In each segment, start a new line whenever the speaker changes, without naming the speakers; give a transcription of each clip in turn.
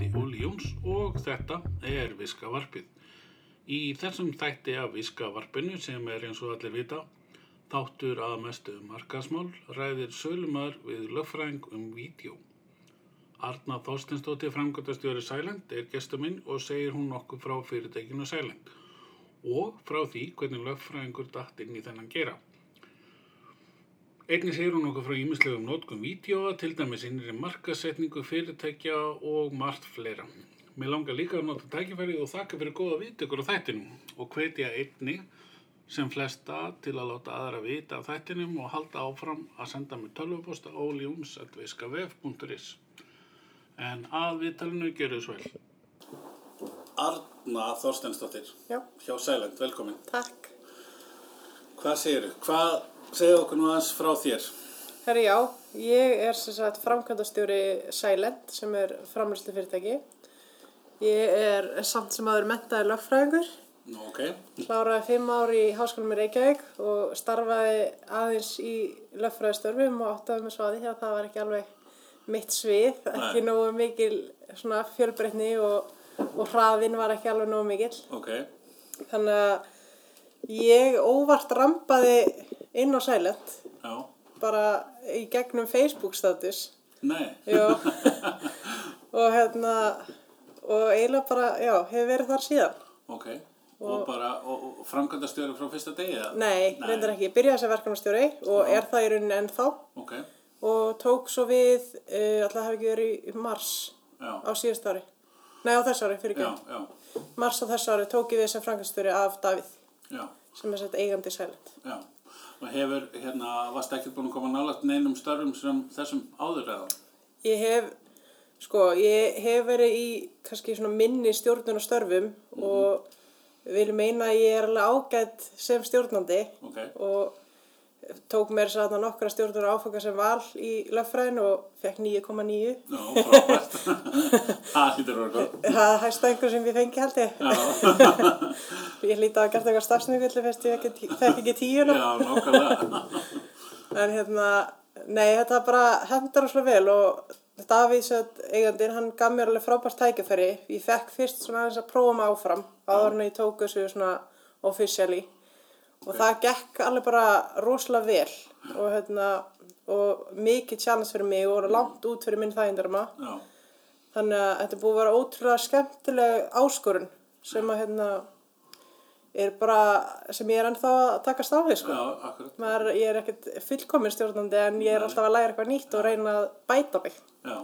Jóns og þetta er Viskavarpið. Í þessum þætti af Viskavarpinu sem er eins og allir vita, þáttur að mestu um markasmál ræðir sölumar við lögfræðing um vídjó. Arna Þorstensdóttir framkvæmtastjóri Sæland er gestur minn og segir hún okkur frá fyrirtekinu Sæland og frá því hvernig lögfræðingur datt inn í þennan gera. Einnig segir hún okkur frá ímislegum nótkum vídjóa, til dæmis innri markasetningu, fyrirtækja og margt fleira. Mér langar líka að nota tækifærið og þakka fyrir góða viðtökur á þættinum og hvetja einnig sem flesta til að láta aðra vita af þættinum og halda áfram að senda mér tölvuposta óljúms.viskavef.is En að viðtalinu gerðu svo vel. Arna Þorstensdóttir
Já,
hjá Sæland, velkomin.
takk.
Hvað segir þau? Hvað segir okkur nú aðeins frá þér?
Herri, já, ég er sem sagt framkvæmdastjóri Silent sem er framlýstu fyrirtæki. Ég er samt sem aður mentaði lögfræðingur,
Nú, ok.
kláraði fimm ár í háskólanum í Reykjavík og starfaði aðeins í lögfræðistörfum og áttaði mig svo að því að það var ekki alveg mitt svið, ekki
Nei.
nógu mikil svona fjölbreytni og, og hraðin var ekki alveg nógu mikill.
Ok,
Þannig að ég óvart rampaði inn á Silent
já,
bara í gegnum Facebook status
nei,
já. og hérna og eiginlega bara, já, hefur verið þar síðan
ok, og, bara, og, og framkvæmdastjóri frá fyrsta degi eða?
nei, reyndar ekki, ég byrjaði sem verkefnastjóri og er það í rauninni ennþá
Ok,
og tók svo við uh, alltaf hafi ekki verið í mars
já,
á síðust ári, nei á þessu ári fyrir
já,
ekki,
já,
mars á þessu ári tók ég við sem framkvæmstjóri af Davíð
já,
sem er sett eigandi sælend
já, og hefur, hérna, varst ekki búin að koma nálægt neinum störfum sem þessum áður eða?
Ég hef, sko, ég hef verið í kannski svona minni stjórnun og störfum og vil meina að ég er alveg ágætt sem stjórnandi
Ok,
og tók mér sér þarna nokkra stjórnun og áfanga sem val í löffræðin og fekk 9,9.
já, frábært, það hýttur verið góð,
Það er hægsta einhver sem ég fengi held ég.
já,
Ég líti að hafa gert eitthvað stafsningvillu fyrst ég ekki, fekk ekki tíuna.
já, nákvæmlega,
En hérna, nei, þetta bara hendar svo vel og Davíð, satt, eigandinn, hann gaf mér alveg frábært tækifæri. Ég fekk fyrst svona aðeins að prófa mig áfram áður en ég tók þessu svona officially og það gekk alveg bara rosalega vel og hérna, og mikið challenge fyrir mig og langt út fyrir minn þægindarma.
já,
Þannig að þetta er búið að vera ótrúlega skemmtileg áskorun sem að hérna er bara, sem ég er ennþá að taka stafið sko
já, akkurat,
maður, ég er ekkert fullkomin stjórnandi en ég er alltaf að læra eitthvað nýtt og reyna að bæta mig.
já,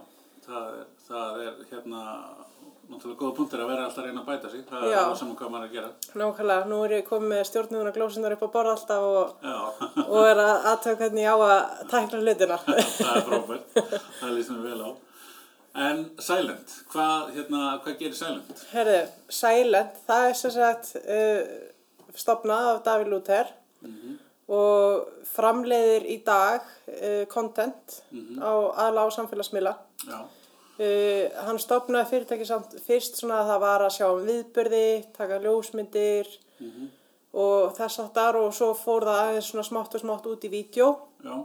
það er, það er, hérna, náttúrulega góða punktur að vera alltaf að reyna að bæta sig, það er
Já.
það sem hvað maður er að gera,
Nákvæmlega, nú er ég komið með stjórnunduna glósunar upp á borð alltaf og,
já,
og er að aðtöða hvernig ég á að tækla hlutina.
það er frábært, það lýst mér vel á. En Silent, hvað, hérna, hvað gerir Silent?
Herðu, Silent, það er sem sagt uh, stopnað af Davíð Lúther og framleiðir í dag uh, content á aðla á samfélagsmiðla.
Já,
Uh, hann stopnaði fyrirtæki samt fyrst svona að það var að sjá um viðbyrði, taka ljósmyndir og þess að þar og svo fór það aðeins svona smátt og smátt út í vídeo.
já,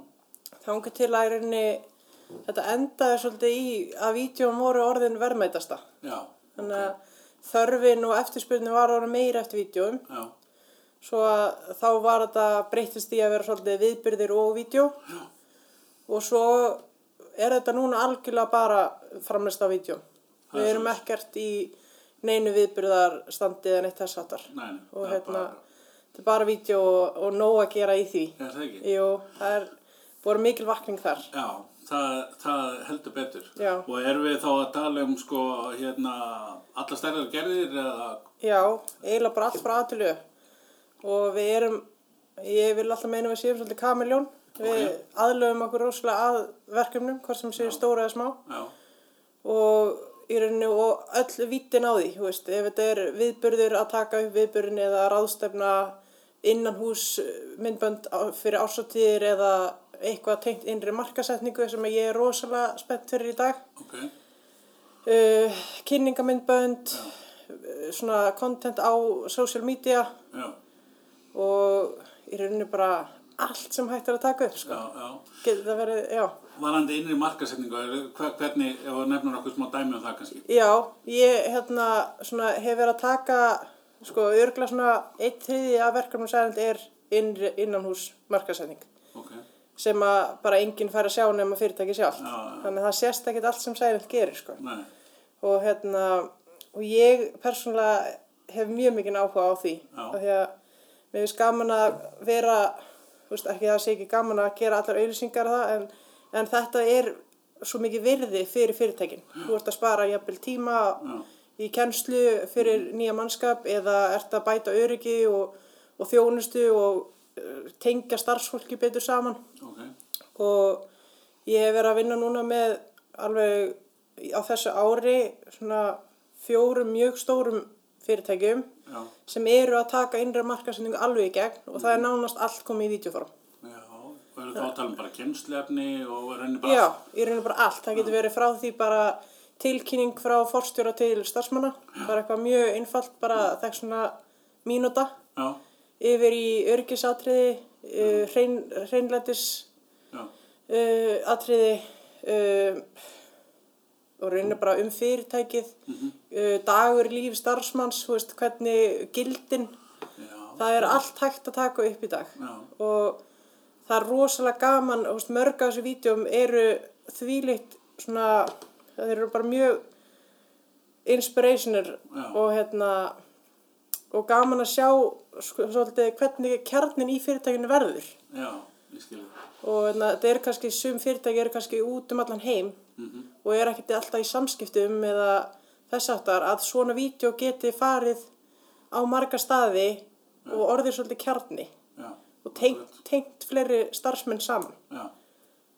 Það unga til að í rauninni þetta endaði svolítið í að vídjón voru orðin verðmætasta.
já,
Þannig að þörfin og eftirspurnin var orðin meira eftir vídjón.
já,
Svo að þá var þetta breytist í að vera svolítið viðbyrðir og vídjó og svo er þetta núna algjörlega bara framleist á vídjó.
Það
Við
er
erum ekkert í neinu viðbyrðarstandi en eitt þess hattar.
Nei, nei,
Og
það er
hérna,
bara-
þetta er bara vídjó og, og nóg að gera í því.
er það ekki?
Jú, það er, voru mikil vakning þar.
Já, það, það heldur betur.
Já.
Og erum við þá að tala um, sko, hérna, alla stærðar gerðir eða,
Já, eiginlega bara allt frá aðtölu og við erum, ég vil alltaf meina við séum svolítið kamiljón, við aðlöfum okkur rosalega að verkefnum, hvort sem séu stóra eða smá
já,
og í rauninu og öll vítin á því, þú veist, ef þetta er viðburður að taka upp viðburðin eða ráðstefna innan hús myndbönd á- fyrir ársatíðir eða eitthvað tengt innri markasetningu sem ég er rosalega spennt fyrir í dag
ok,
uh, kynningamindbönd, uh, svona content á social media
já,
og í rauninni bara allt sem hægt er að taka upp, sko.
já, já.
Getur það verið, já,
varandi innri markasetningu, er- hva- hvernig, ef þú nefnir okkur smá dæmi um það kannski?
Já, ég hérna, svona, hef verið að taka sko, örgla svona eitt þriði af verkefnum sælend er innri, innanhús markasetning
Ok,
sem að bara enginn fær að sjá nema fyrirtæki sjálft.
Já, já.
Þannig að það sést ekkit allt sem sælend gerir sko.
nei,
Og hérna, og ég persónulega hef mjög mikinn áhuga á því.
Já.
Af Því að mér finnst gaman að vera, þú veist ekki að það sé ekki gaman að gera allar auðlýsingar það en, en þetta er svo mikið virði fyrir fyrirtækin. Þú ert að spara jafnvel tíma
já, Mhm.
í kennslu fyrir nýja mannskap eða ert að bæta öryggi og, og þjónustu og eh, tengja starfsfólki betur saman
ok,
og ég hef verið að vinna núna með alveg á þessu ári svona fjórum mjög stórum fyrirtækjum
já,
sem eru að taka innra markasendingu alveg í gegn og það er nánast allt komið í videoform.
já, og eru þá að tala um bara kynslefni og raunir bara
Já, í rauninu bara allt. Það getur verið frá því bara tilkynning frá forstjóra til starfsmanna, bara eitthvað mjög einfalt, bara þekkt svona mínúta
Já,
yfir í örgisatriði, uh, hrein, hreinlætis
já,
uh, atriði uh, og rauninu bara um fyrirtækið, uh, dagur líf starfsmanns, þú veist, hvernig gildin,
já,
það er allt hægt að taka upp í dag
já,
og það er rosalega gaman þú veist, mörg af þessu vídjum eru þvílitt svona það eru bara mjög inspirationer
Já.
og hérna og gaman að sjá sko, svolítið hvernig kjarnin í fyrirtækinu verður
já, ég skil það.
og hérna, þetta er kannski sum fyrirtæki eru kannski út um allan heim
Mhm.
og er ekkert alltaf í samskiptum um eða þess aftar að svona vídeo geti farið á marga staði og orðið svolítið kjarni
Já,
og tengt, tengt fleiri starfsmenn saman.
já,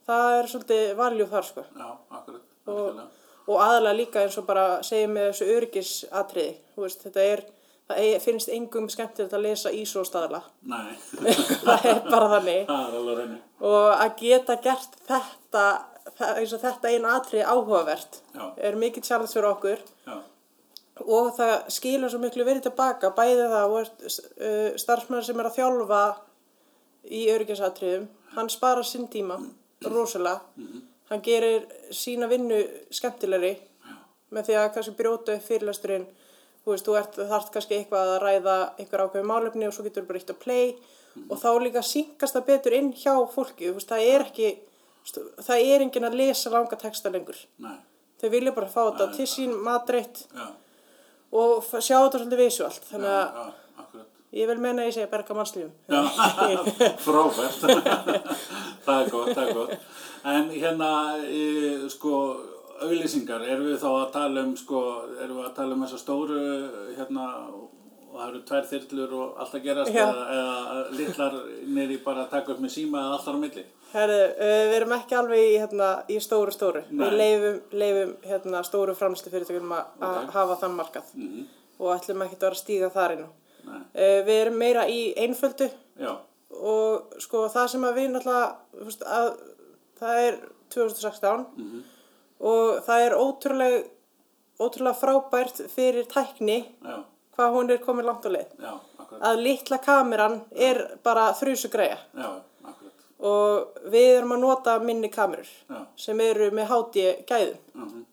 Það er svolítið valjú þar sko
já, akkurat,
og,
algjörlega.
og aðalega líka eins og bara segjum með þessu örgisatriði, þú veist, þetta er, það er, finnst engum skemmtilegt að lesa ISO staðla,
Nei,
það er bara þannig
það er alveg raunir.
og að geta gert þetta, það- eins og þetta einu atriði áhugavert
Já.
er mikið challenge fyrir okkur
Já,
og það skilur svo miklu verið tilbaka bæði það og uh, starfsmæður sem er að þjálfa í öryggisatriðum hann sparar sinn tíma rosalega, hann gerir sína vinnu skemmtilegri með því að kannski brjóta upp fyrirlesturinn þú veist, þú ert, þarft kannski eitthvað að ræða eitthvað ákveðum málefni og svo getur bara eitt að play og þá líka syngast það betur inn hjá fólki, þú veist, það er ekki það er enginn að lesa langa texta lengur
nei,
þau vilja bara fá þetta til sín matreitt
já,
og f- sjá þetta svolítið visuált þannig að
já, akkurat.
ég vil menna að ég segja berga mannslífum
Já, frábært það er gott, það er gott en hérna e, sko, auglýsingar erum við þá að tala um sko, erum við að tala um þessa stóru hérna, og það eru tvær þyrlur og allt að gerast
Já.
eða, eða litlar niður í bara að taka upp með síma eða allt á milli
Herðu, uh, við erum ekki alveg í, hérna, í stóru stóru við
Nei.
leifum, leifum hérna, stóru framstu fyrirtökum að að
Ok. Mhm.
hafa þann markað og ætlum ekki að vera að stíga þar inn
Nei.
uh, við erum meira í einföldu
já,
og sko það sem að við náttúrulega þú veist, að, það er 2016
Mhm.
og það er ótrúlega ótrúlega frábært fyrir tækni
já,
hvað hún er komin langt á leið
já, akkurat
að litla kameran er bara þrjusugræja
já, akkurat
og við erum að nota minni kamerur
já,
sem eru með háti gæðum.
mhm,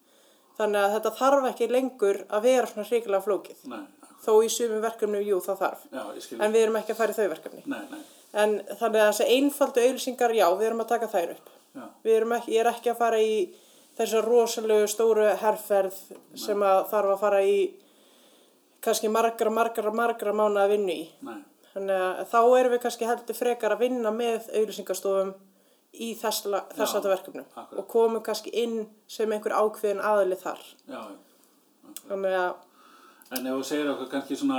Þannig að þetta þarf ekki lengur að vera svona hrikilega flókið.
nei, akkurat
Þó í sumum verkefnum, jú, það þarf.
já, ég skil,
En við erum ekki að fara í þau verkefni.
nei, nei,
En þannig að þessi einfaldu auðlýsingar, já, við erum að taka þær upp.
já,
Við erum ekki, ég er ekki að fara í þessa rosalegu stóru herrferð sem að þarf að fara í kannski margra, margra, margra mánu að vinna í.
nei
Þannig að þá erum við kannski heldur frekar að vinna með auðlýsingastofum í þess þetta verkefnum
akkurat.
og komum kannski inn sem einhver ákveðin aðli þar.
já, já
Þannig að,
En ef þú segir okkur kannski svona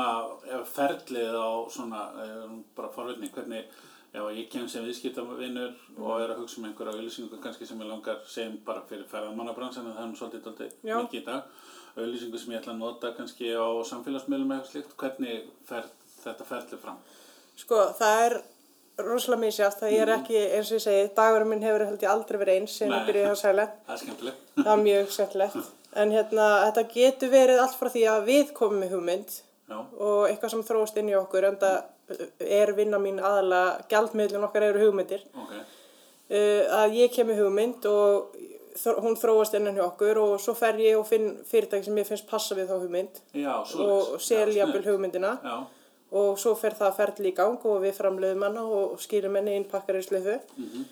ef ferlið á svona eh, bara forvitni, hvernig ef ég kem sem viðskiptavinnur og er að hugsa um einhverja auðlýsingu kannski sem ég langar sem bara fyrir ferðamannabransan en það er nú svolítið dálítið
Já.
mikið í dag auðlýsingu sem ég ætla að nota kannski á samfélagsmiðlum eða eitthvað slíkt, hvernig fer þetta ferlið fram?
sko, það er rosalega misjátt. Það er ekki, eins og ég segi, dagurinn minn hefur held ég aldrei verið eins sem
Mhm. Nei.
ég byrjaði að sæla.
Það er skemmtilegt.
Það er mjög skemmtilegt. En hérna, þetta getur verið allt frá því að við komum með hugmynd
Já,
og eitthvað sem þróast inn í okkur, en það er vinna mín aðalega, gjaldmiðlun okkar eru hugmyndir.
ok.
Eh, uh, að ég kem í hugmynd og þr- hún þróast innan hjá okkur og svo fer ég og finn fyrirtæki sem ég finnst passa við þá hugmynd
Já, svoleiðis.
og
Já,
selja
sniðugt.
bíl hugmyndina
Já,
og svo fer það ferli í gang og við framleiðum hana og skýrum henni inn pakkar í slöfu.
Mhm.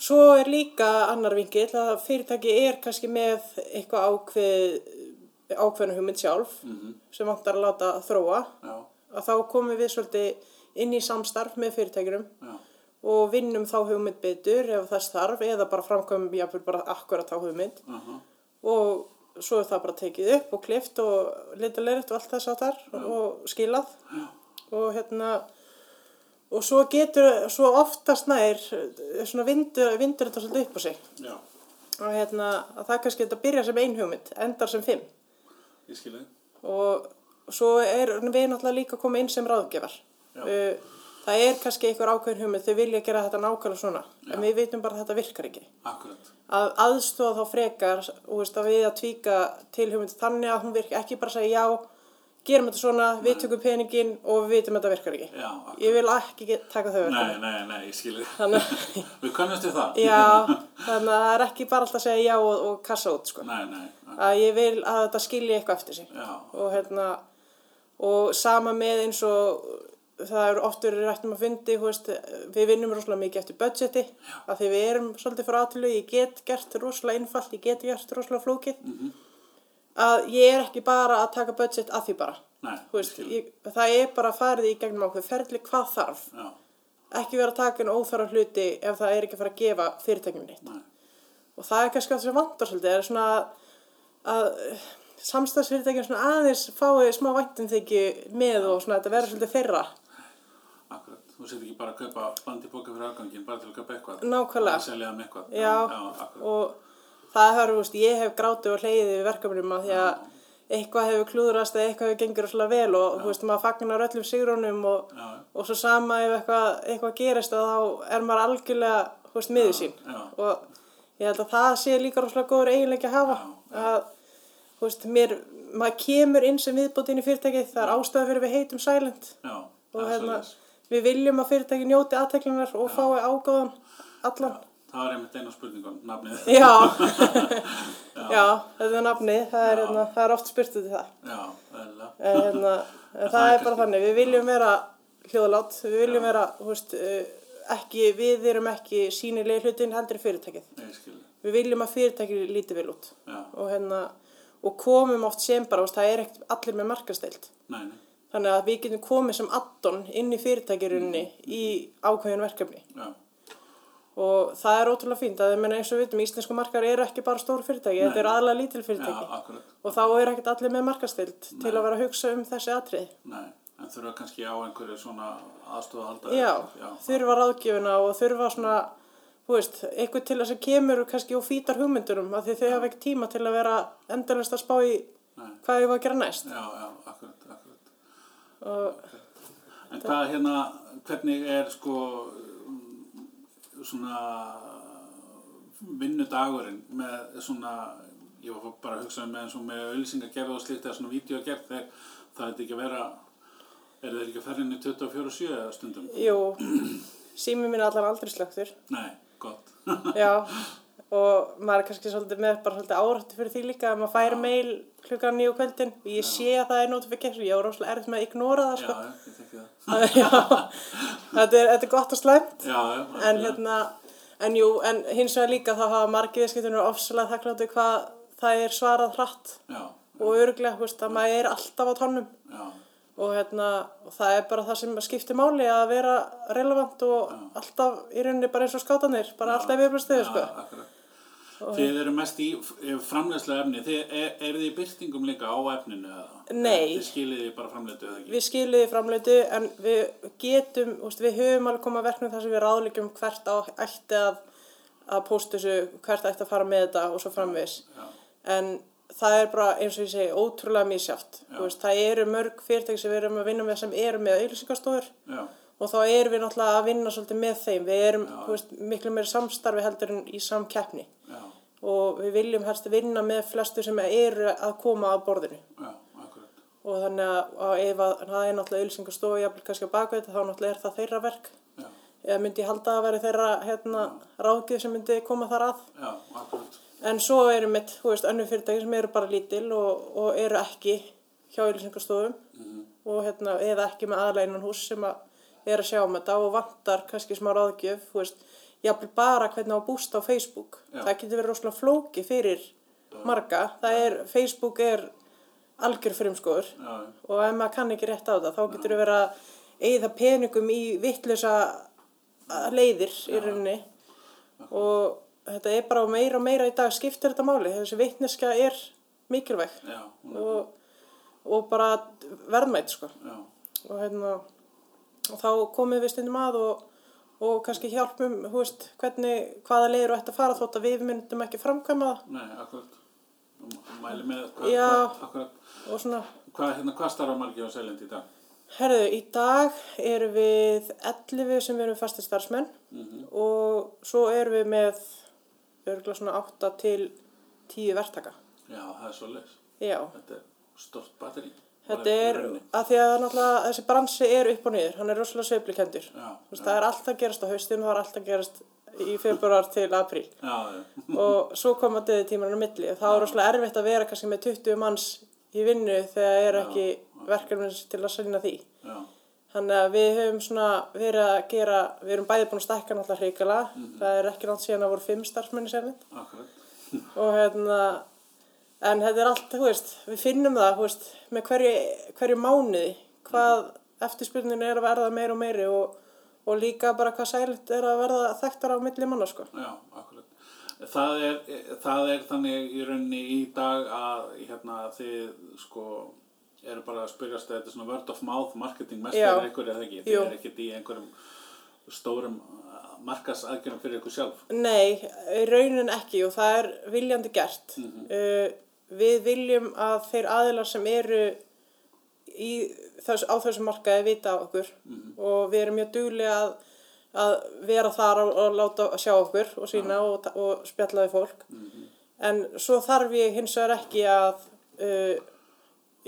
Svo er líka annar vingill að fyrirtæki er kannski með eitthvað ákveð, ákveðna hugmynd sjálf
Mhm.
sem vantar að láta þróa
já,
að þá komum við svolítið inn í samstarf með fyrirtækjum
já,
og vinnum þá hugmynd betur ef þess þarf eða bara framkvæmum jafnvel bara akkurat þá hugmynd
aha,
og svo er það bara tekið upp og klift og litaleritt og allt þess að þar og skilað
já,
og hérna og svo getur, svo oftast nær eh, svona vindur, vindur þetta svolítið upp á sig
já,
og hérna að það kannski þetta byrja sem ein hugmynd endar sem fimm
ég skilði.
og svo er við náttúrulega líka að koma inn sem ráðgjafar
Já.
Uh, það er kannski einhver ákveðin hugmynd þau vilja gera þetta nákvæmlega svona en við vitum bara að þetta virkar ekki
Akkurat,
að aðstóða þá frekar og veist, að við að tvíka til hugmynd þannig að hún virki ekki bara að segja já gerum þetta svona, við tökum peningin og við vitum að þetta virkar ekki
já, akkurat.
ég vil ekki get- taka þau
Nei,
verkefni.
nei, nei, ég skilði.
þannig,
Við kannast við það.
já, þannig að það er ekki bara alltaf að segja já og, og kassa út sko.
Nei, nei, ak-
að ég vil að þetta skilji eitthvað eftir sig
já,
og hérna og sama með eins og það eru oft verið rættum að fundi þú veist, við vinnum rosalega mikið eftir budgeti af því við erum svolítið frá aðtölu ég get gert rosalega einfalt, ég get gert rosalega flókið að ég er ekki bara að taka budget að því bara
nei,
Þú veist, ég, það er bara farið í gegnum ákveð ferli hvað þarf
já,
ekki vera að taka inn óþarf hluti ef það er ekki að fara að gefa fyrirtækjum nýtt
nei,
og það er kannski að sem vantar svolítið er svona að, að samstagsfyrirtækjum svona aðeins fáið smá væntum þykju með og svona þetta verður svolítið þeirra
akkurat. Þú setur ekki bara að kaupa bandi bóka fyrir afgangin, bara til að kaupa eitthvað.
Nákvæmlega.
Að selja um eitthvað.
já,
já, akkurat.
og það hefur, þú veist, ég hef grátið og hleyðið við verkefnum að því að eitthvað hefur klúðrast eða eitthvað hefur gengur svolítið vel og þú veist, maður fagnar öllum sigrunum og,
Já, já.
og svo sama ef eitthvað, eitthvað gerist að þá er maður algjörlega, þú veist, miður sín
já.
og ég held að það sé líka rosalega góður eiginleiki að hafa
Já, já.
að, þú veist, mér, maður kemur inn sem viðbót inn í fyrirtækið, það er ástæða fyrir við heitum silent
Já, það
og
er
hérna,
svoleiðis.
við viljum að fyrirtæki njóti aðteklunar og fái ágóðan allan
Það var einmitt einu spurningum, nafnið.
Já, já, þetta er nafnið, það er,
Já.
hérna, það er oft spurt út í það.
Já, eðlilega.
En, hérna, en það,
það er
er bara
kannski-
þannig, við viljum vera hljóðlátt, við viljum vera, þú veist, eh, ekki, við erum ekki sýnilegi hlutin heldur í fyrirtækið.
Nei, ég skilði.
Við viljum að fyrirtækið líti vel út
Já,
og, hérna, og komum oft sem bara, þú veist, það er ekkert allir með markasteilt.
nei, nei,
Þannig að við getum komið sem addon inn í fyrirtækirunni í ákveðin verkefni
já,
og það er ótrúlega fínt að ég meina eins og við vitum íslensku markar eru ekki bara stór fyrirtæki, þetta eru aðlega lítil
já,
fyrirtæki
akkurat.
og þá er ekkert allir með markastild til að vera að hugsa um þessi atrið.
Nei, en þurfa kannski á einhverju svona aðstofa að halda.
Já,
já,
þurfa ráðgjöfuna og þurfa svona, þú veist, eitthvað til þess að kemur kannski og fýtar hugmyndunum af því þau hafa ekki tíma til að vera endalist að spá í
Nei.
hvað ég var að gera næst.
já, já, akkurat, akkurat.
Og,
En hvað hérna, hvernig er sko mm, svona vinnudagurinn með svona, ég var bara að hugsa með eins og með auðlýsingagerð og slíkt eða svona vídeogerð þegar það er ekki að vera, er þeir ekki að ferja inn í 24-7 eða stundum?
jú, sími mín er allan aldrei slögtur,
Nei, gott.
já, og maður er kannski svolítið með bara svolítið árættu fyrir því líka að maður fær mail klukkan nýju kvöldin og ég sé að það er notification, ég á rosalega erfitt með að ignora það,
já,
sko.
já, ég tekki það.
Já, þetta er, þetta er gott og slæmt.
Já, já,
en
algjörlega.
hérna, en jú, en hins vegar líka þá hafa margir viðskiptunir ofsalega þakkláttu hvað það er svarað hratt
Já,
og örglega, þú veist, að maður er alltaf á tónum
já,
og hérna, og það er bara það sem skiptir máli að vera relevant og alltaf í rauninni bara eins og skátanir, bara alltaf í
já,
viðbröðstöðu, sko.
akkurat. Þið eru mest í framlegslega efni, þið er, er þið í byrtingum líka á efninu eða?
Nei.
Þið skiljið þið bara framleitu eða ekki?
Við skilum þið framleitu en við getum, þú veist, við höfum alveg komað verknum þar sem við ráðlíkjum hvert á, ætti að, að pósta þessu, hvert ætti að fara með þetta og svo framvegis.
Já,
en það er bara eins og ég segi ótrúlega misjátt
Já.
veist, það eru mörg fyrirtæki sem við erum að vinna með sem eru með auðlýsingastofur
já,
og þá erum við náttúrulega að vinna svolítið með þeim við erum
Já.
þú veist, miklu meira samstarfi heldur en í samkeppni
já,
og við viljum helst vinna með flestu sem eru að koma að borðinu
já, akkurat.
og þannig að, að ef að, það er náttúrulega auðlýsingastofu jafnvel kannski á bakveit þá náttúrulega er það þeirra verk
Já,
eða myndi ég halda að veri þeirra hérna, ráðgjöf sem myndi koma þar að.
já, akkurat.
En svo eru mitt, þú veist, önnur fyrirtæki sem eru bara lítil og, og eru ekki hjá ylinsingastofum og hérna, eða ekki með aðleinan hús sem að er að sjá um þetta og vantar kannski smá ráðgjöf, þú veist, jafnvel bara hvernig á að bústa á Facebook.
Já.
Það getur verið rosalega flóki fyrir marga. Það er, Facebook er algjör frumskóður
Já, já.
og ef maður kann ekki rétt á það, þá getur verið að eigða peningum í vittlösa leiðir í rauninni og þetta er bara meira og meira í dag skiptir þetta máli, þessi vitneska er mikilvæg
Já,
og, og bara verðmætt sko
já,
og hérna og þá komum við stundum að og, og kannski hjálpum, hú veist, hvernig hvaða leiður ætti að fara þótt að við myndum ekki framkvæma það
nei, akkurat. M- Mæli með, hvað,
Já.
hvað, akkurat,
og svona,
hvað, hérna, hvað starfa margir á Selend í dag?
herðu, í dag erum við 11 sem erum fasti starfsmenn
Mhm.
og svo erum við með örgulega svona 8 til 10 verktaka
Já, það er svo leys.
já,
Þetta er stort batteri.
Þetta er, að því að náttúrulega þessi bransi er upp og niður, hann er rosalega sveiflikendur.
Já, já.
Það er allt að gerast á haustin og það er allt að gerast í februar til apríl.
Já, já,
Og svo koma döði tímarinn á milli og það er rosalega erfitt að vera kannski með 20 manns í vinnu þegar er ekki verkefnins til að selina því.
já,
Þannig að við höfum svona verið að gera, við erum bæði búin að stækka náttúrulega hreikala, það er ekki langt síðan að voru fimm starfsmenni sérnit
akkurat.
og hérna en þetta er allt, þú veist, við finnum það þú veist, með hverju, hverju mánuði hvað eftirspurnin er að verða meir og meiri og, og líka bara hvað sælitt er að verða þekktar á milli manna sko.
Já, akkurat. Það er, það er þannig í rauninni í dag að hérna, þið sko eru bara að spyrjast að þetta er svona word of mouth marketing mest
Já.
fyrir ykkur eða ekki. Þið
Jú.
eru ekkert í einhverjum stórum markasaðgjörnum fyrir ykkur sjálf.
Nei, í raunin ekki og það er viljandi gert. uh, við viljum að þeir aðilar sem eru í, þess, á þessum markaði vita af okkur og við erum mjög duglega að, að vera þar og, og láta að sjá okkur og sína og, ta- og spjalla við fólk. En svo þarf ég hins vegar ekki að uh,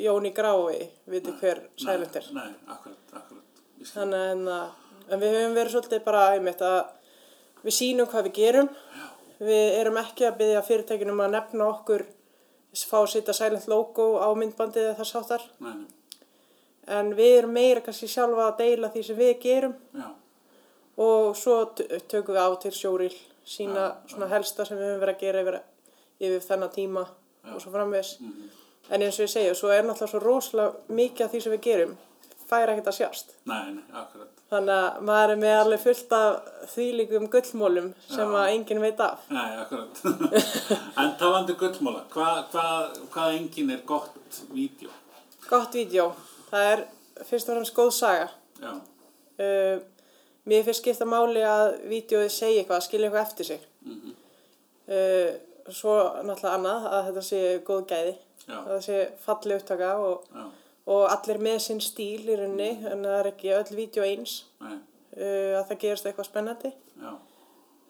Jóni Grái viti hver sælent er.
Nei, akkurat, akkurat. Ég skil.
Þannig að hérna, en við höfum verið svolítið bara einmitt að við sínum hvað við gerum. Við erum ekki að byggja fyrirtækinum að nefna okkur fá að setja silent logo á myndbandið eða þess áttar.
Nei, nei,
En við erum meira kannski sjálfa að deila því sem við gerum
já,
og svo t- tökum við á til sjóril sína svona helsta sem við höfum verið að gera yfir, yfir þennan tíma og svo framvegs. En eins og ég segja, svo er náttúrulega svo rosalega mikið af því sem við gerum færa ekkert að sjást.
nei, nei, akkurat.
Þannig að maður er með alveg fullt af þvílíkum gullmólum sem að enginn veit af.
Nei, akkurat. en talandi gullmóla, hvað hva, hva engin er gott vídeo?
Gott vídeo. Það er fyrst og fremst góð saga.
Já,
Uh, mér finnst skipta máli að vídeoið segja eitthvað, skilja eitthvað eftir sig. uh, svo náttúrulega annað að þetta sé góð gæði.
Já.
Að það sé falli upptaka og,
já,
og allir með sinn stíl í rauninni en það er ekki öll vídeo eins
nei,
uh, að það gerist eitthvað spennandi.
já,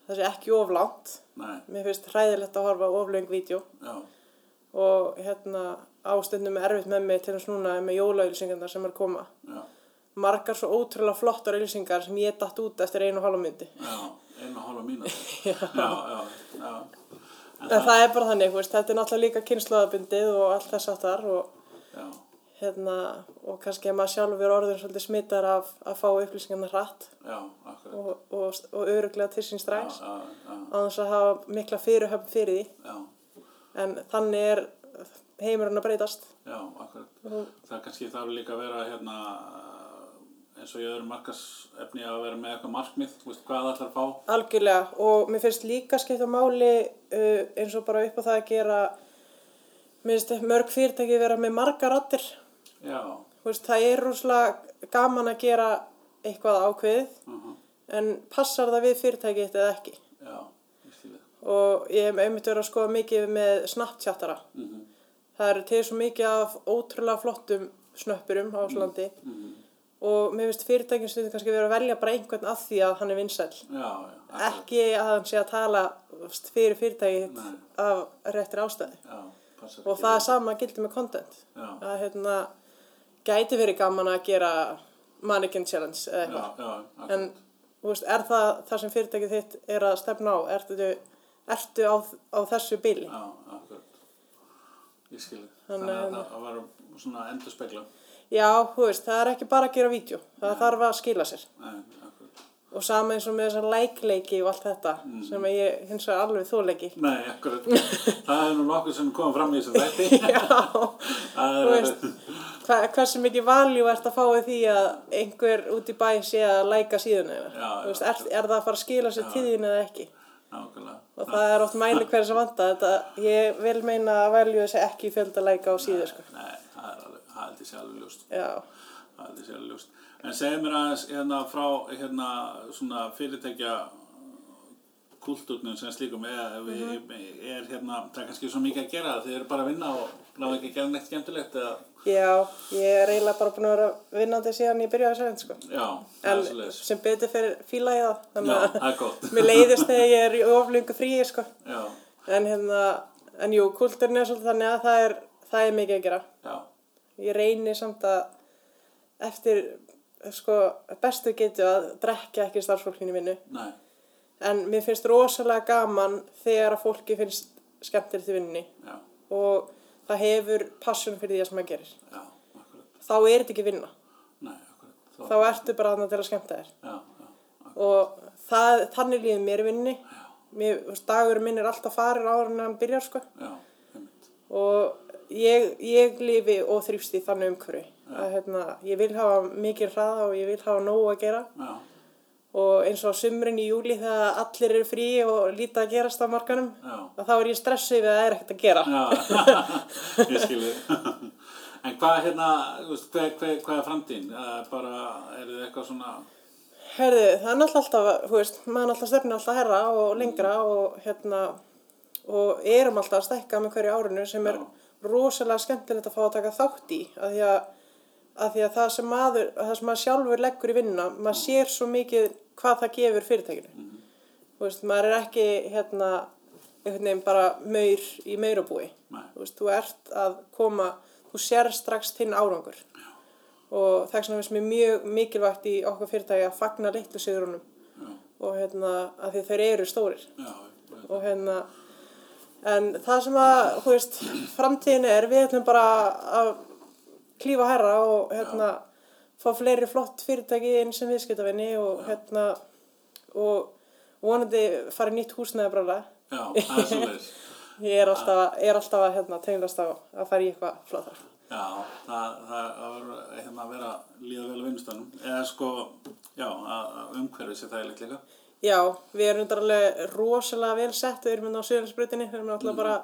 Það sé ekki oflánt.
nei,
Mér finnst hræðilegt að horfa á oflöng vídeo.
já.
og hérna ástundum er erfitt með mig til þess núna með jólaauðlýsingarnar sem er að koma.
Já,
Margar svo ótrúlega flottar auðlýsingar sem ég datt út eftir einu og hálfa myndi.
já, einu og hálfa mínúti. já, já, já,
En það er bara þannig, þú veist, þetta er náttúrulega líka kynnslóðabundið og allt þess aftar og
já,
hérna, og kannski að maður sjálfur orðin svolítið smittar af að fá upplýsingarnar hratt
já, akkurat.
og, og, og öruglega til sín strax
Já, já,
á þess að hafa mikla fyrirhöfn fyrir því.
já,
En þannig er heimurinn að breytast.
já, akkurat. Það kannski þarf líka að vera hérna eins og í öðrum markasefni að vera með eitthvað markmið, þú veist hvað það ætlar að fá.
Algjörlega og mér finnst líka skipta máli uh, eins og bara upp á það að gera mér finnst mörg fyrirtæki vera með marga rattir
Já,
veist, það er rúslega gaman að gera eitthvað ákveðið en passar það við fyrirtæki þetta eða ekki
uh-huh. já, ég skil það.
og ég hef einmitt verið að skoða mikið með Snapchatara það eru til svo mikið af ótrúlega flottum snöppurum á Íslandi og mér finnst fyrirtækin stundum kannski vera að velja bara einhvern af því að hann er vinsæll
Já, já, akkurat.
ekki að hann sé að tala þú veist, fyrir fyrirtækið
Nei.
af réttir ástæði
Já, passa.
og það er sama gildi með content
Já.
að hérna gæti verið gaman að gera mannequin challenge eða
Já,
eitthvað
já,
en
akkurat.
þú veist, er það það sem fyrirtækið þitt er að stefna á? Ertu, ertu á, á þessu bíli?
Já, akkurat. Ég skil.
Þannig
Þannig að
að-
það var svona endur spekla.
Já, þú veist, það er ekki bara að gera vídeo, það þarf að skila sér.
Nei, akkurat.
Og sama eins og með þessar lækleiki og allt þetta
Mm.
sem að ég hins vegar alveg þóleiki.
Nei, akkurat. það er nú nokkuð sem kom fram í þessum þætti.
Já,
Það
þú
er
veist, hva, hversu mikið valjú ert að fá í því að einhver út í bæ sé að læka síðuna
Já,
þeirra? Þú veist,
já.
er, er það að fara að skila sér tíðin eða ekki?
nákvæmlega.
Og það er oft mæli hverja sem vanda þetta. Ég vil meina að valjú þessi ekki í fjölda læka á síðu, sko.
Nei, það er alveg, það held ég sé alveg ljóst.
Já,
Það held ég sé alveg ljóst. En segðu mér aðeins hérna frá hérna svona fyrirtækja kulturnum sem slíkum eða mm
Mhm.
er hérna, það er kannski svo mikið að gera þið eru bara að vinna og láta ekki að gera neitt skemmtilegt eða,
já, ég er eiginlega bara búin að vera vinnandi síðan ég byrjaði sérinn, sko.
já, það er svo
En sem betur fyrir fíla ég það.
Já,
Þannig
það er gott.
mér leiðist þegar ég er í oflöngu fríi, sko.
Já,
En hérna, en jú, kulturinn er svolítið þannig að það er, það er mikið að gera.
já,
Ég reyni samt að eftir sko, bestu getu að drekja ekki starfsfólkinu minnu.
nei,
En mér finnst rosalega gaman þegar að fólki finnst skemmtilegt í vinnunni
já,
og það hefur passion fyrir því að sem maður gerir.
já, akkurat,
Þá er þetta ekki vinna.
nei, akkurat, þá,
Þá ertu bara þarna til að skemmta þér.
já, já,
Og það, þannig líður mér í vinnunni. Mér, þú veist, dagurinn minn er alltaf farin áður en hann byrjar sko.
já, einmitt,
og ég, ég lifi og þrýfst í þannig umhverfi að hérna, ég vil hafa mikið hraða og ég vil hafa nógu að gera
já,
og eins og á sumrin í júli þegar allir eru frí og lítið að gerast á markanum
Já.
að þá er ég stressuð við að það er ekkert að gera
já, ég skilu, en hvað hérna, þú veist, hver, hver, hvað er framtíðin, það er bara, er þið eitthvað svona,
Herðu, það er náttúrulega alltaf, þú veist, maður er alltaf stefni alltaf herra og lengra og hérna og erum alltaf að stækka með hverju árinu sem er
Já.
rosalega skemmtilegt að fá að taka þátt í að því að, að, því að það sem maður, það sem maður sjálfur leggur í vinnuna, maður sér svo mikið hvað það gefur fyrirtækinu.
Mhm.
Þú veist, maður er ekki hérna einhvern veginn bara maur í maurabúi.
Nei.
Þú veist, þú ert að koma, þú sér strax þinn árangur og þess vegna finnst mér mjög mikilvægt í okkur fyrirtæki að fagna litlu sigurunum
já,
og hérna að því þeir eru stórir
já, já,
og hérna en það sem að, hú veist, framtíðin er við ætlum bara að klífa herra og hérna fá fleiri flott fyrirtæki inn sem viðskiptavinni og hérna og vonandi fara í nýtt húsnæði brála
já, það er svo leiðis.
ég er alltaf, að- er alltaf að hérna, tenglast á að fara í eitthvað flottar
Já, það, það, það var hérna að vera líða vel á vinnustanum. Eða sko, já, að, að umhverfið sé þægilegt líka.
Já, við erum þetta alveg rosalega vel sett, við erum hérna á Suðurlandsbrutinni, við erum
Mm.
náttúrulega bara,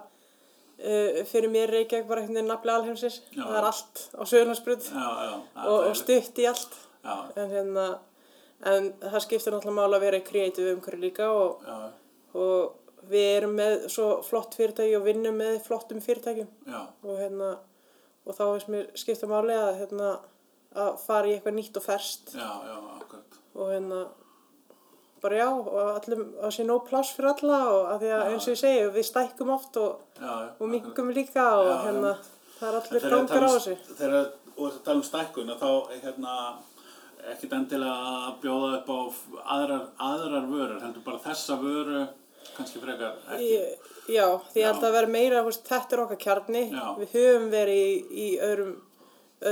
uh, fyrir mér Reykjavík bara einhvern veginn nafnlega alheimsins,
Já.
það er allt á Suðurlandsbrut
Já, já, það
og, og
þægilegt.
stutt í allt,
Já,
en hérna, en það skiptir náttúrulega mála að vera í kreatífu umhverju líka og,
já,
og við erum með svo flott fyrirtæki og vinnum með flottum fyrirtækjum
já,
og hérna, og þá veist mér skiptir máli að hérna, að fara í eitthvað nýtt og ferst
já, já, akkurat.
og hérna bara já og allum, að sé nóg pláss fyrir alla og að því að eins og ég segi við stækkum oft og,
Já, já.
og mingum líka og
Já,
hérna það er allir
Þegar við
gangar á
talum-
þessu
Þegar við erum að tala um stækkun að þá er hérna ekkit endilega að bjóða upp á f- aðrar, aðrar vörur, heldur bara þessa vöru, kannski frekar ekki.
Ég- já því ég held
Já.
að vera meira þú veist, þetta er okkar kjarni
Já.
við höfum verið í, í öðrum,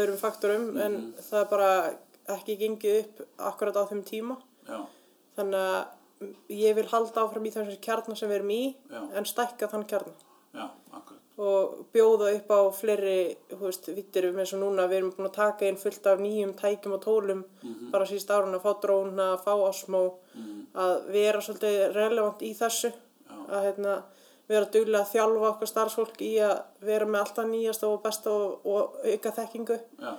öðrum faktorum
Mhm.
en það er bara ekki gengið upp akkurat á þeim tíma
Já,
þannig að ég vil halda áfram í þessum kjarnar sem við erum í
Já.
en stækka þann kjarnar
já, akkurat.
og bjóða upp á fleiri þú veist, vittirum eins og núna við erum búin að taka inn fullt af nýjum tækjum og tólum bara síst árun að fá dróna að fá osmó, að vera svolítið relevant í þessu að hérna, vera duglega að þjálfa okkar starfsfólk í að vera með alltaf nýjasta og besta og, og auka þekkingu
Já,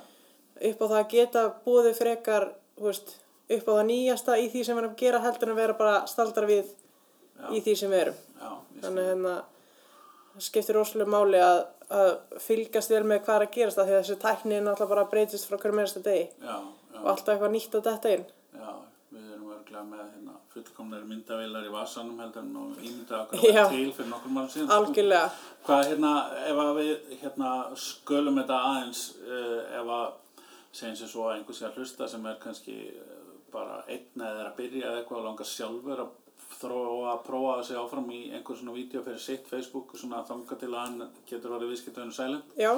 upp á það að geta búið frekar þú veist, upp á það nýjasta í því sem við erum að gera heldur en að vera bara staldar við í því sem við erum
já, ég skil.
þannig að hérna það skiptir rosalega máli að, að fylgjast vel með hvað er að gerast af því að þessi tækni er náttúrulega bara að breytist frá hverjum einasta degi
Já, já.
og alltaf eitthvað nýtt að detta inn
Já, við erum örglega með hérna, fullkomnar myndavélar í vasanum heldur en og ímynda okkur
Já.
var til fyrir nokkur mál síðan. sko.
algjörlega
Hvað hérna, ef að við hérna, skölum þetta aðeins, uh, ef að segjum sem svo að einhver sé að hlusta sem er kannski eh, bara einn eða er að byrja eða eitthvað og langar sjálfur að þróa að prófa sig áfram í einhver svona vídeo fyrir sitt Facebook svona þanga til að hann getur orðið viðskiptunum sælend
já,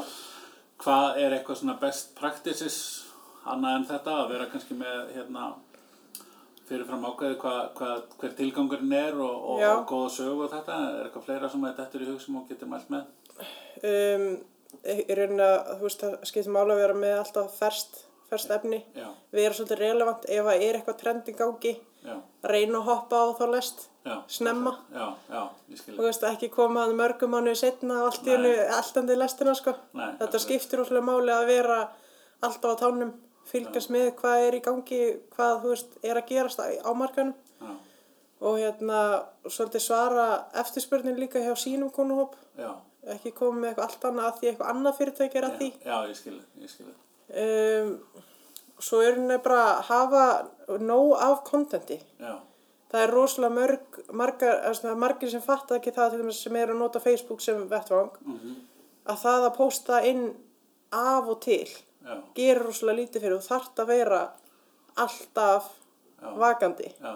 hvað er eitthvað svona best practices annað en þetta að vera kannski með hérna fyrirfram ákveði hvað, hvað, hver tilgangurinn er og, og,
Já.
og góða sögu og þetta er eitthvað fleira sem þetta eftir í hug sem hún getur mælt með
um, í rauninni að þú veist það skiptir mála að vera með alltaf ferst, ferst efni
já,
við erum svolítið relevant ef það er eitthvað trend í gangi
já,
reyna að hoppa á þá lest
já
snemma
já, já, ég skil
þú veist ekki koma að mörgum mánu setna og allt í
Nei.
hennu alltandi lestina sko
Nei,
þetta
akkurat.
skiptir úrlega máli að vera alltaf á tánum fylgjast með hvað er í gangi hvað þú veist er að gerast á á markanum
já,
og hérna svolítið svara eftirspurnin líka hjá sínum konuhóp
já,
ekki koma með eitthvað allt annað að því eitthvað annað fyrirtæki er að því
já, ég skil ég skil
um, svo er henni bara að hafa nóg af kontenti
já,
það er rosalega mörg, margar, eða svona, margir sem fatta ekki það til dæmis sem eru að nota Facebook sem vettvang að það að posta inn af og til
já,
gerir rosalega lítið fyrir og þarft að vera alltaf
Já.
vakandi
já,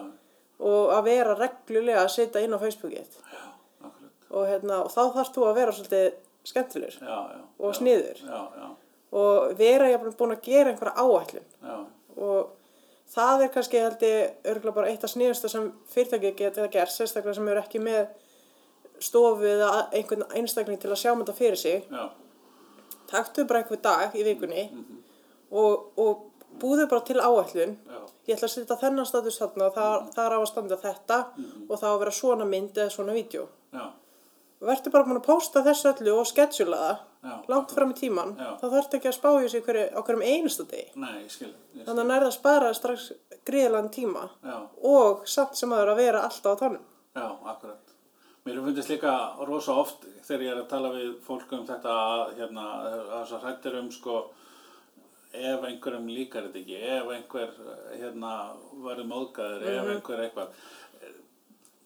og að vera reglulega að setja inn á Facebookið
já, akkurat
og, hérna, og þá þarft þú að vera svolítið skemmtilegur
já, já,
og
já,
sniður
já, já,
og vera jafnvel búin að gera einhverja áætlun
já,
og það er kannski held ég örgulega bara eitt af sniðustu sem fyrirtækið geta gert, sérstaklega sem eru ekki með stofu eða einhvern einstakling til að sjá þetta fyrir sig
já,
taktu bara einhver dag í vikunni
Mhm.
og, og búðu bara til áætlun
já,
ég ætla að setja þennan status þarna það,
Mhm.
það er á að standa þetta og það á að vera svona mynd eða svona vídeo
já,
verður bara búin að posta þessu öllu og schedula það
Já,
langt fram í tíman
Já.
það þarf ekki að spá í sig hverju, á hverjum einasta degi
nei, ég skil ég skil,
þannig að nærða að spara strax gríðlan tíma
já,
og samt sem aður að vera alltaf á tánum.
já, akkurat Mér finnst líka rosa oft þegar ég er að tala við fólk um þetta að hérna, þess að hrættir um sko ef einhverjum líkar þetta ekki, ef einhver hérna verður móðgæður, ef
Mhm.
einhver eitthvað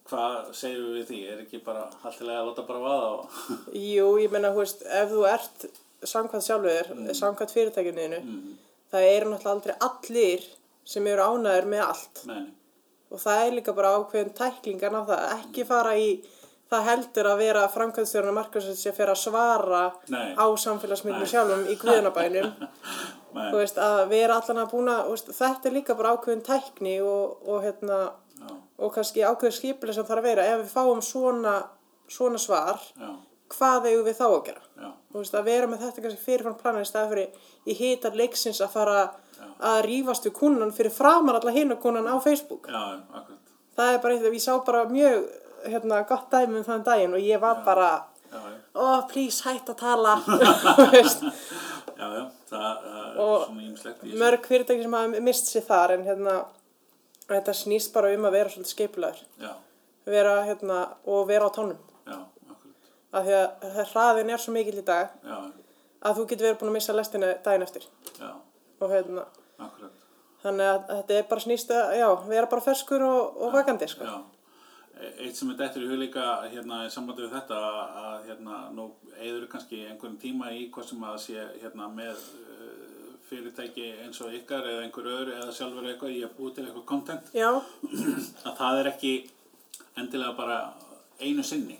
hvað segjum við við því, er ekki bara haldilega að láta bara vaða og
Jú, ég meina, hú veist, ef þú ert samkvæmt sjálfur, mm. samkvæmt fyrirtækinu mm. það eru náttúrulega aldrei allir sem eru ánæður með allt
meni,
og það er líka bara ákveðin tæklingan af það, ekki fara í það heldur að vera framkvæmstjórna markaðsins sem fer að svara
Nei.
á samfélagsmyndum sjálfum í guðunabænum
Nei.
þú veist, að vera allan að búna þú veist, þetta er líka bara ákveðin tækni og, og hérna
já,
og kannski ákveður skipileg sem þarf að vera ef við fáum svona, svona svar
já,
hvað eigum við þá að gera
já
þú veist að vera með þetta kannski fyrirfann planar í staði fyrir í hitar leiksins að fara að rífast við kunnan fyrir framar alla hinn og kunnan á Facebook
já, akkurat,
það er bara eitt af, ég sá bara mjög hérna, gott dæmi um þann daginn og ég var bara
já, já
oh please hætt að tala Þú veist,
Já, já, það, það er
Og
svona ímslegt í
mörg fyrirtæki sem hafa mist sér þar en hérna þetta snýst bara um að vera svolítið skipulegur
Já,
vera, hérna, og vera á tónum
já, akkurat.
af því að það- hraðin er svo mikill í dag
Já,
að þú getur verið búin að missa lestina daginn eftir
já,
og hérna
akkurat.
þannig að þetta er bara snýst að já, vera bara ferskur og, og vakandi sko.
Já. E- Eitt sem er dættur í hug líka hérna í sambandi við þetta að- að hérna nú eigður kannski einhvern tíma í hvað sem að sé hérna með uh, fyrirtæki eins og ykkar eða einhver öðru eða sjálfur eitthvað í að búi til eitthvað content
já,
að það er ekki endilega bara einu sinni.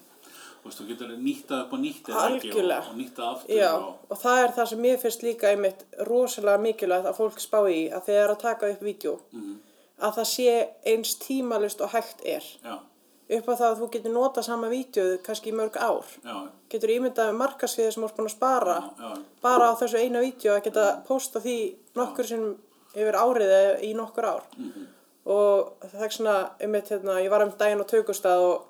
Þú veist, þú getur nýttað upp og nýttað ekki og,
Algjörlega.
og nýttað aftur
já
og
og það er það sem mér finnst líka einmitt rosalega mikilvægt að fólk spá í að þegar það er að taka upp vídeo að það sé eins tímalust og hægt er
já,
upp á það að þú getur nota sama vídeoð kannski í mörg ár
já,
getur ímyndað um markasviði sem þú ert búin að spara
já,
bara á þessu eina vídeo að geta posta því nokkur sem yfir árið eða í nokkur ár
Mhm.
og það er svona um eitt hérna, ég var um daginn á tökustað og,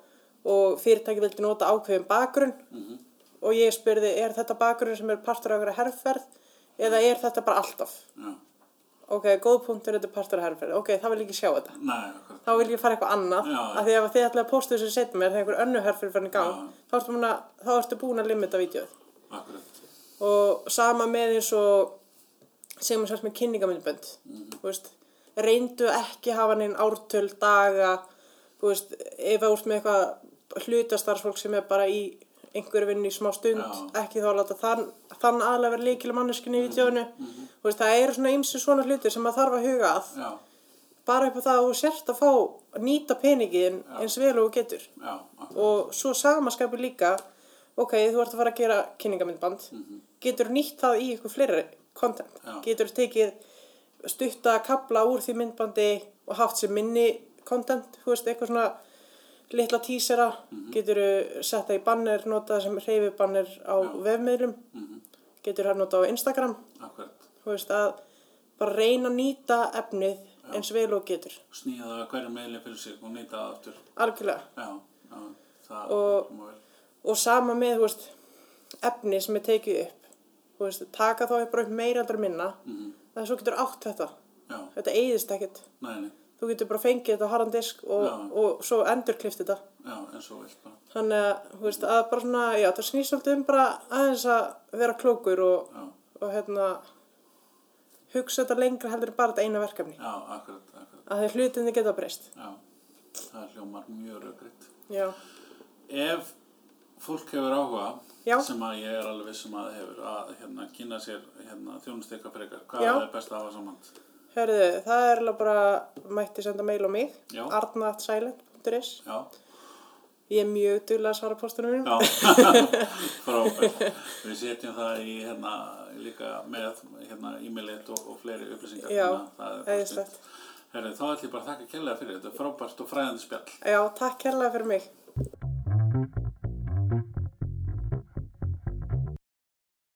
og fyrirtæki vildi nota ákveðin bakgrunn
Mhm.
og ég spurði er þetta bakgrunn sem er partur af einhverja herrferð eða er þetta bara alltaf
já.
ok, góð punktur, þetta er partur af herrferð ok, þá vil ég ekki sjá þetta
Nei, akkurat.
þá vil ég fara eitthvað annað
Já.
af því að ef þið ætlaði að posta þessu setjum er það einhver önnu herrferð fyrir gang þá ertu, búin að, þá ertu búin að limita vídeoð
Akkurat.
og sama með eins og sem við sérst með kynningamindbönd þú veist, reyndu ekki hafa neinn ártöl, daga þú veist, ef það úrst með eitthvað hlutastarfsfólk sem er bara í einhverju vinnu í smá stund
Já.
ekki þá láta þann, þann aðlega vera líkilega manneskunni í vítjónu, þú veist, það eru svona ymsi svona hlutir sem maður þarf að huga að
Já,
bara upp á það að þú sért að fá að nýta peningin eins vel og þú getur
já, akkurat.
og svo samaskapur líka ok, þú ert að fara að gera kynningamindband getur nýtt það í ykkur fleiri content,
Já.
getur tekið stutta kapla úr því myndbandi og haft sem minni content, þú veist, eitthvað svona litla tísera, mm -hmm. getur setta í banner, notað sem reyfibanner á vefmiðlum getur það notað á Instagram
akkurat.
þú veist, að bara reyna að nýta efnið eins vel og getur
Snýða það hverju meðlega fyrir sig og nýta það aftur.
algjörlega
Já, já, það
Og-
má vel.
og sama með þú veist, efni sem er tekið upp Þú veist, taka þá bara upp meira aldrei minna
Mhm.
mm. það svo getur átt þetta
Já,
þetta eigðist ekkert
nei, nei,
þú getur bara fengið þetta á harðan disk og,
Já.
og svo endurklift þetta
já, eins og vilt bara.
þannig að, þú veist, að bara svona já, það snýst svolítið um bara aðeins að vera klókur og,
Já,
og hérna hugsa þetta lengra heldur en bara þetta eina verkefni
já, akkurat, akkurat.
að þeir hlutinni geta breyst
Já, það hljómar mjög raugriðt.
já,
Ef fólk hefur áhuga,
Já.
sem að ég er alveg vissum að það hefur, að hérna, kynna sér hérna, þjónust eitthvað frekar, hvað
Já.
er best að hafa saman?
herðu, það er alveg bara mætti senda mail á mig
Já.
arnatsilent.is
Já,
Ég er mjög duðlega að svara póstunum
já,
mínum.
frábært. Við setjum það í hérna, líka með hérna, e-mailit og, og fleiri upplýsingar.
Já,
þannig að það er bara
æðislegt.
snillt. Herri, þá ætlum ég bara að þakka kærlega fyrir þetta, frábært og fræðandi spjall.
Já, takk kærlega fyrir mig.